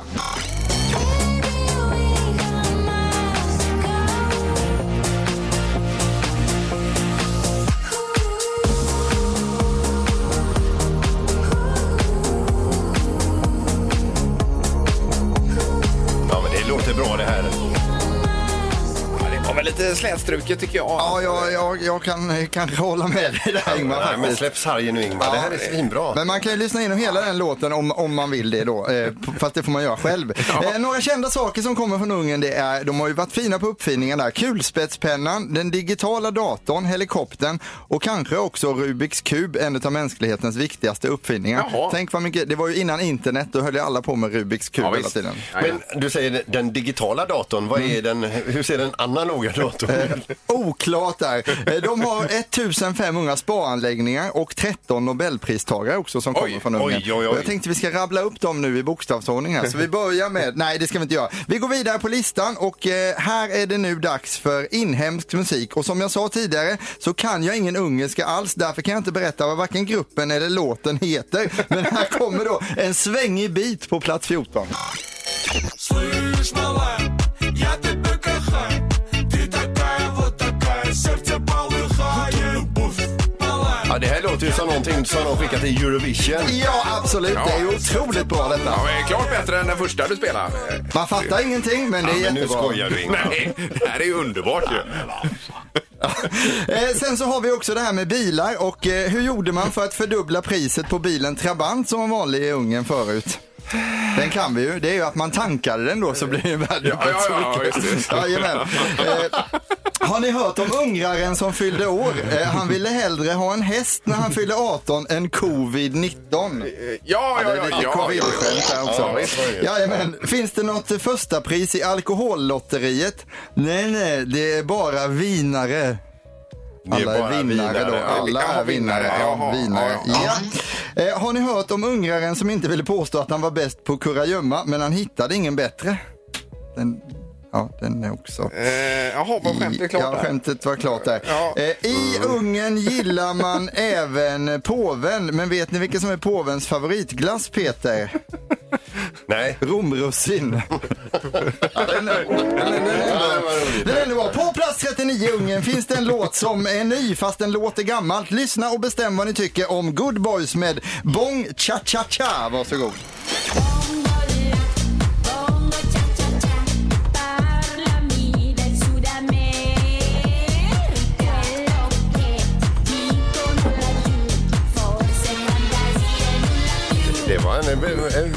[SPEAKER 4] Ja, men det låter bra det här.
[SPEAKER 3] det? Det var väl lite eh, slätstruket tycker jag.
[SPEAKER 5] Ja, jag, jag, jag kan eh, kanske hålla med dig där Ingmar.
[SPEAKER 4] Nej, men
[SPEAKER 5] faktiskt.
[SPEAKER 4] släpp sargen nu Ingmar. Det här är svinbra.
[SPEAKER 5] Men man kan ju lyssna igenom hela den låten om, om man vill det då. Eh, p- fast det får man göra själv. Eh, några kända saker som kommer från Ungern det är, de har ju varit fina på uppfinningar där. Kulspetspennan, den digitala datorn, helikoptern och kanske också Rubiks kub, en av mänsklighetens viktigaste uppfinningar.
[SPEAKER 3] Jaha.
[SPEAKER 5] Tänk vad mycket, det var ju innan internet, då höll ju alla på med Rubiks kub
[SPEAKER 3] Ja,
[SPEAKER 5] hela
[SPEAKER 3] visst.
[SPEAKER 5] tiden.
[SPEAKER 4] Men du säger den digitala datorn. Vad är den, hur ser den analoga datorn ut?
[SPEAKER 5] Oklart där. Eh, De har 1500 sparanläggningar och 13 nobelpristagare också som
[SPEAKER 3] Oj,
[SPEAKER 5] kommer från
[SPEAKER 4] oj,
[SPEAKER 5] Ungern.
[SPEAKER 4] oj, oj.
[SPEAKER 5] Och Jag tänkte vi ska rabbla upp dem nu i bokstavsordning här. Så vi börjar med, nej det ska vi inte göra. Vi går vidare på listan och eh, här är det nu dags för inhemsk musik. Och som jag sa tidigare så kan jag ingen ungerska alls. Därför kan jag inte berätta vad varken gruppen eller låten heter. Men här kommer då en svängig bit på plats 14.
[SPEAKER 4] Ja, det här låter ju som någonting som de skickar till Eurovision.
[SPEAKER 5] Ja absolut, det är ju otroligt bra detta.
[SPEAKER 3] Ja, men klart bättre än den första du spelade. Eh,
[SPEAKER 5] Man fattar ingenting men det är
[SPEAKER 4] Men nu
[SPEAKER 5] jättebra.
[SPEAKER 4] skojar du Ingmar.
[SPEAKER 3] Nej, det här är ju underbart ju.
[SPEAKER 5] Eh, Sen så har vi också det här med bilar och eh, hur gjorde man för att fördubbla priset på bilen Trabant som var vanlig i Ungern förut? Den kan vi ju. Det är ju att man tankade den då så blir den värd
[SPEAKER 3] Ja, ja, ja,
[SPEAKER 5] dubbelt så mycket.
[SPEAKER 3] just det.
[SPEAKER 5] Jajamän. eh, Har ni hört om ungraren som fyllde år? Eh, han ville hellre ha en häst när han fyllde 18 än covid-19.
[SPEAKER 3] Ja,
[SPEAKER 5] Det
[SPEAKER 3] ja,
[SPEAKER 5] är
[SPEAKER 3] ja.
[SPEAKER 5] lite
[SPEAKER 3] ja, ja,
[SPEAKER 5] covid-skämt där
[SPEAKER 4] Ja,
[SPEAKER 5] också.
[SPEAKER 4] visst var det ju.
[SPEAKER 5] Jajamän. Finns det något första pris i alkohollotteriet? Nej, nej, det är bara vinare.
[SPEAKER 4] är
[SPEAKER 5] Alla
[SPEAKER 4] bara
[SPEAKER 5] är vinnare
[SPEAKER 4] vinnare.
[SPEAKER 5] då. Alla
[SPEAKER 3] Jaha,
[SPEAKER 5] är vinnare.
[SPEAKER 3] vinnare.
[SPEAKER 5] Ja,
[SPEAKER 3] Jaha,
[SPEAKER 5] vinnare.
[SPEAKER 3] ja,
[SPEAKER 5] Ja. Eh, Har ni hört om ungraren som inte ville påstå att han var bäst på kurragömma, men han hittade ingen bättre? Den, ja, den är också...
[SPEAKER 3] Eh, Jaha, var skämtet klart
[SPEAKER 5] Ja,
[SPEAKER 3] där?
[SPEAKER 5] skämtet var klart där.
[SPEAKER 3] Ja.
[SPEAKER 5] Eh, I Ungern gillar man även påven, men vet ni vilken som är påvens favoritglass, Peter?
[SPEAKER 4] Nej.
[SPEAKER 5] Romrussin. Ja, den är- den är- den är
[SPEAKER 4] Ja, det
[SPEAKER 5] bra.
[SPEAKER 4] var roligt.
[SPEAKER 5] Den är bra. På plats 39 i Ungern finns det en låt som är ny fast den låter gammalt. Lyssna och bestäm vad ni tycker om Good Boys med Bong Cha Cha Cha. Varsågod.
[SPEAKER 4] Det var en, en,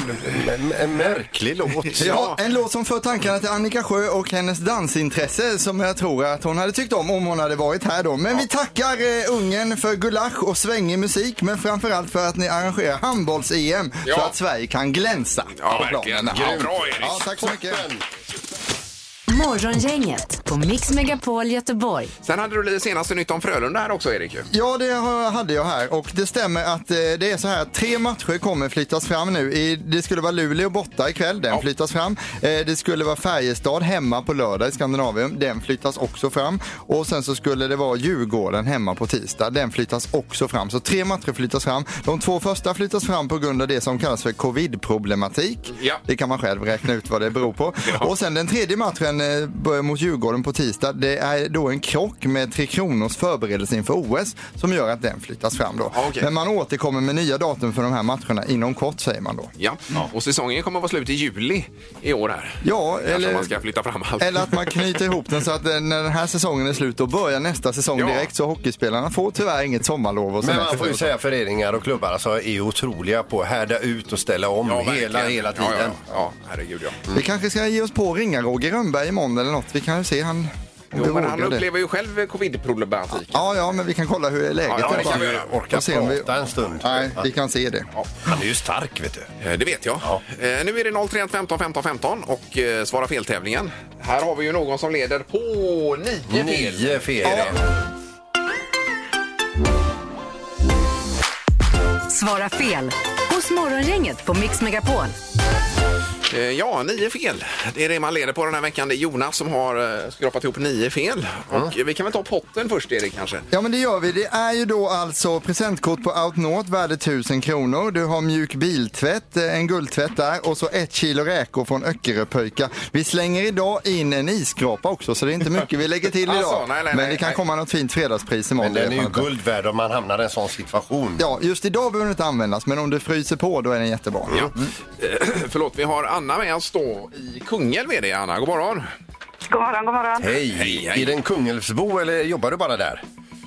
[SPEAKER 4] en, en märklig låt.
[SPEAKER 5] Ja, en låt som för tankarna till Annika Sjö och hennes dansintresse som jag tror att hon hade tyckt om om hon hade varit här då. Men vi tackar eh, Ungern för gulasch och svängig musik men framförallt för att ni arrangerar handbolls-EM så
[SPEAKER 3] Ja.
[SPEAKER 5] att Sverige kan glänsa.
[SPEAKER 3] Ja,
[SPEAKER 5] på planen.
[SPEAKER 3] verkligen. Ja, bra, Erik.
[SPEAKER 5] Ja, tack så mycket.
[SPEAKER 2] Morgongänget på Mix Megapol Göteborg.
[SPEAKER 3] Sen hade du lite senaste nytt om Frölunda här också, Erik. ju.
[SPEAKER 5] Ja, det har- hade jag här och det stämmer att eh, det är så här att tre matcher kommer flyttas fram nu. I, det skulle vara Luleå borta ikväll, den
[SPEAKER 3] Ja.
[SPEAKER 5] flyttas fram. Eh, det skulle vara Färjestad hemma på lördag i Skandinavien, den flyttas också fram. Och sen så skulle det vara Djurgården hemma på tisdag, den flyttas också fram. Så tre matcher flyttas fram. De två första flyttas fram på grund av det som kallas för covid-problematik.
[SPEAKER 3] Ja.
[SPEAKER 5] Det kan man själv räkna ut vad det beror på. Och sen den tredje matchen eh, börjar mot Djurgården på tisdag. Det är då en krock med Tre Kronors förberedelse inför OS som gör att den flyttas fram då.
[SPEAKER 3] Ja, okej.
[SPEAKER 5] Men man återkommer med nya datum för de här matcherna inom kort säger man då.
[SPEAKER 3] Ja. Och säsongen kommer att vara slut i juli i år här.
[SPEAKER 5] Ja,
[SPEAKER 3] Kanske
[SPEAKER 5] eller-
[SPEAKER 3] man ska flytta fram allt.
[SPEAKER 5] Eller att man knyter ihop den så att eh, när den här säsongen är slut då börjar nästa säsong
[SPEAKER 3] Ja.
[SPEAKER 5] direkt så hockeyspelarna får tyvärr inget sommarlov och
[SPEAKER 4] Men
[SPEAKER 5] semester
[SPEAKER 4] man får ju
[SPEAKER 5] och så.
[SPEAKER 4] säga föreningar och klubbar alltså, är otroliga på att härda ut och ställa om
[SPEAKER 3] Ja, verkligen.
[SPEAKER 4] hela, hela tiden.
[SPEAKER 3] Ja, ja, ja. ja herregud ja.
[SPEAKER 5] Vi kanske ska ge oss på och ringa Roger Rönnberg imorgon eller något. Vi kan ju se han om vi
[SPEAKER 3] Jo, men han
[SPEAKER 5] vågar det.
[SPEAKER 3] upplever ju själv covid-problematiken.
[SPEAKER 5] Ja, ja, men vi kan kolla hur är läget.
[SPEAKER 3] Ja, ja, det
[SPEAKER 5] bara.
[SPEAKER 3] kan vi göra.
[SPEAKER 4] Orka
[SPEAKER 5] Och se om vi-
[SPEAKER 4] prata en stund.
[SPEAKER 5] Nej, vi kan se det.
[SPEAKER 4] Han är ju stark vet du.
[SPEAKER 3] Eh, Det vet jag. Eh, Nu är det 031 15 15 15 och eh, svara fel-tävlingen. Här har vi ju någon som leder på nio fel.
[SPEAKER 4] Nio fel.
[SPEAKER 2] Svara fel hos Morgongänget på Mix Megapol.
[SPEAKER 3] Eh, Ja, nio fel. Det är det man leder på den här veckan. Det är Jonas som har eh, skrapat ihop nio fel. Och eh, vi kan väl ta potten först, Erik, kanske?
[SPEAKER 5] Ja men det gör vi. Det är ju då alltså presentkort på Outnaught värde 1000 kronor. Du har mjuk biltvätt, eh, en guldtvätt där och så ett kilo räkor från Öckeröpöjka. Vi slänger idag in en isskrapa också så det är inte mycket vi lägger till idag.
[SPEAKER 3] Alltså, nej, nej,
[SPEAKER 5] men
[SPEAKER 3] nej,
[SPEAKER 5] det kan
[SPEAKER 3] nej.
[SPEAKER 5] komma något fint fredagspris imorgon.
[SPEAKER 4] Men den
[SPEAKER 5] det
[SPEAKER 4] är
[SPEAKER 5] vet
[SPEAKER 4] ju
[SPEAKER 5] man inte.
[SPEAKER 4] guld värd om man hamnar i en sån situation.
[SPEAKER 5] Ja, just idag behöver den inte användas men om du fryser på då är den jättebra.
[SPEAKER 3] Ja. Eh, Förlåt, vi har Anna med oss då i Kungälv. Är det, Anna? God morgon!
[SPEAKER 6] God morgon, god morgon.
[SPEAKER 4] Hej.
[SPEAKER 3] Hej, hej.
[SPEAKER 4] Är det en Kungälvsbo eller jobbar du bara där?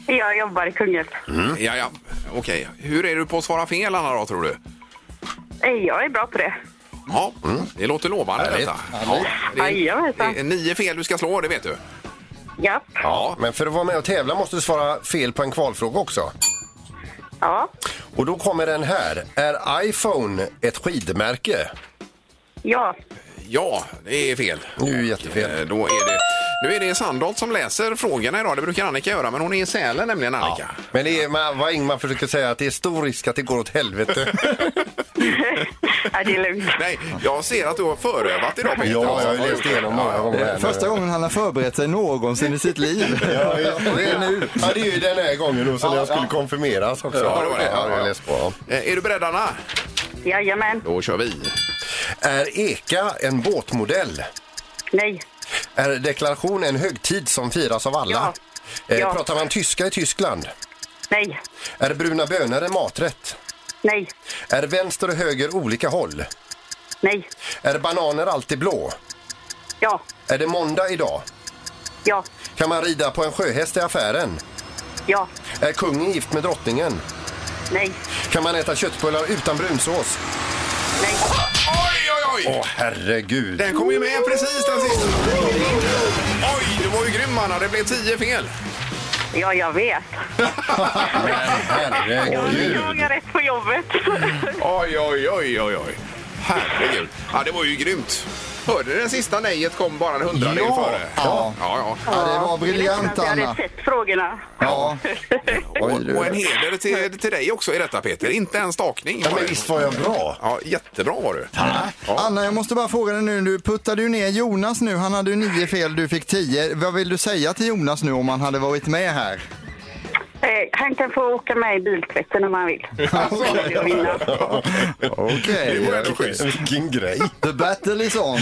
[SPEAKER 6] Jag jobbar i Kungälv.
[SPEAKER 4] Mm.
[SPEAKER 3] Ja, ja. Okej. Hur är du på att svara fel, Anna, då, tror du?
[SPEAKER 6] Eh, Jag är bra på det.
[SPEAKER 3] Ja, Mm. det låter lovande
[SPEAKER 4] Härligt.
[SPEAKER 3] detta. Ja, det är,
[SPEAKER 6] Jajamensan.
[SPEAKER 3] det är nio fel du ska slå, det vet du.
[SPEAKER 6] Japp.
[SPEAKER 4] Ja. Men för att vara med och tävla måste du svara fel på en kvalfråga också.
[SPEAKER 6] Ja.
[SPEAKER 4] Och då kommer den här. Är iPhone ett skidmärke?
[SPEAKER 6] Ja.
[SPEAKER 3] Ja, det är fel.
[SPEAKER 4] Det är ju jättefel.
[SPEAKER 3] Eh, Då är det, nu är det Sandholt som läser frågorna idag. Det brukar Annika göra, men hon är i Sälen nämligen, Annika.
[SPEAKER 4] Men det är, man- vad Ingmar försöker säga att det är stor risk att det går åt helvete.
[SPEAKER 6] ja, det är lugnt.
[SPEAKER 3] Nej, jag ser att du har förövat idag, Peter.
[SPEAKER 4] ja, jag har ju läst igenom många gånger. här nu.
[SPEAKER 5] Första gången han har förberett sig någonsin i sitt liv.
[SPEAKER 4] Ja, ja, det är nu. Ja, det är ju den här gången då, så när jag skulle konfirmeras också.
[SPEAKER 3] Ja, det var det.
[SPEAKER 4] Ja, jag har läst på.
[SPEAKER 3] Eh, Är du beredd, Anna?
[SPEAKER 6] Jajamän.
[SPEAKER 3] Då kör vi.
[SPEAKER 4] Är eka en båtmodell?
[SPEAKER 6] Nej.
[SPEAKER 4] Är deklaration en högtid som firas av alla?
[SPEAKER 6] Ja.
[SPEAKER 4] Eh,
[SPEAKER 6] Ja.
[SPEAKER 4] Pratar man tyska i Tyskland?
[SPEAKER 6] Nej.
[SPEAKER 4] Är bruna bönor en maträtt?
[SPEAKER 6] Nej.
[SPEAKER 4] Är vänster och höger olika håll?
[SPEAKER 6] Nej.
[SPEAKER 4] Är bananer alltid blå?
[SPEAKER 6] Ja.
[SPEAKER 4] Är det måndag idag?
[SPEAKER 6] Ja.
[SPEAKER 4] Kan man rida på en sjöhäst i affären?
[SPEAKER 6] Ja.
[SPEAKER 4] Är kungen gift med drottningen?
[SPEAKER 6] Nej.
[SPEAKER 4] Kan man äta köttbullar utan brunsås?
[SPEAKER 6] Nej.
[SPEAKER 3] Oj, oj, oj!
[SPEAKER 4] Åh, herregud.
[SPEAKER 3] Den kom ju med precis den sista. Oj, du var ju grym, Anna. Det blev tio fel.
[SPEAKER 6] Ja, jag vet.
[SPEAKER 4] Men herregud.
[SPEAKER 6] Jag är rätt på jobbet.
[SPEAKER 3] Oj, oj, oj, oj, oj. Herregud. Ja, det var ju grymt. Hörde du den sista nejet kom bara en hundradel
[SPEAKER 5] Ja.
[SPEAKER 3] före?
[SPEAKER 5] Ja.
[SPEAKER 3] ja, ja.
[SPEAKER 5] Ja, det var briljant,
[SPEAKER 6] Jag
[SPEAKER 5] Anna.
[SPEAKER 6] hade sett frågorna.
[SPEAKER 5] Ja.
[SPEAKER 3] Och,
[SPEAKER 5] Oj, du.
[SPEAKER 3] och en heder till, till dig också i detta, Peter. Inte en stakning.
[SPEAKER 4] Ja,
[SPEAKER 3] var
[SPEAKER 4] men
[SPEAKER 3] det.
[SPEAKER 4] visst var jag bra?
[SPEAKER 3] Ja, jättebra var du. Ja.
[SPEAKER 5] Anna, jag måste bara fråga dig nu. Du puttade ju ner Jonas nu. Han hade ju nio fel, du fick tio. Vad vill du säga till Jonas nu om han hade varit med här?
[SPEAKER 6] Eh, han kan få åka med i biltvätten om han vill. Och vinna.
[SPEAKER 5] Okej.
[SPEAKER 3] Det var ändå schysst.
[SPEAKER 4] Vilken grej.
[SPEAKER 5] The battle is on.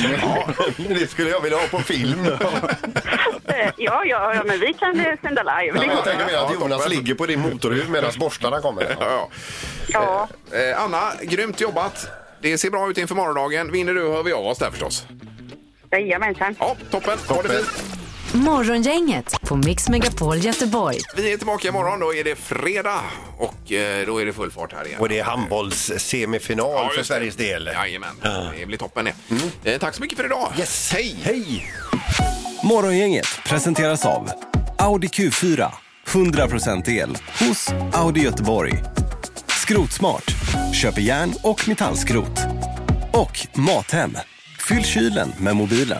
[SPEAKER 4] Det skulle jag vilja ha på film.
[SPEAKER 6] Eh, Ja, ja, ja, men vi kan eh, sända live.
[SPEAKER 4] Men jag
[SPEAKER 6] Det-
[SPEAKER 4] tänker mer att Jonas ligger på din motorhuv medan borstarna kommer.
[SPEAKER 3] Ja,
[SPEAKER 6] Ja,
[SPEAKER 3] ja. Eh, Anna, grymt jobbat. Det ser bra ut inför morgondagen. Vinner du hör vi av oss där förstås.
[SPEAKER 6] jajamensan.
[SPEAKER 3] Ja, toppen. Ha det
[SPEAKER 4] Toppen.
[SPEAKER 3] fint.
[SPEAKER 2] Morgongänget på Mix Megapol Göteborg.
[SPEAKER 3] Vi är tillbaka imorgon. Då är det fredag och eh, då är det full fart här igen.
[SPEAKER 4] Och det är handbollssemifinal
[SPEAKER 3] Ja, just
[SPEAKER 4] för
[SPEAKER 3] det.
[SPEAKER 4] Sveriges del. Mm.
[SPEAKER 3] Jajamän, det blir toppen det. Eh, tack så mycket för idag.
[SPEAKER 4] Yes.
[SPEAKER 3] Hej!
[SPEAKER 4] Hej!
[SPEAKER 10] Morgongänget presenteras av Audi Q4. 100% el hos Audi Göteborg. Skrotsmart. Köper järn och metallskrot. Och Mathem. Fyll kylen med mobilen.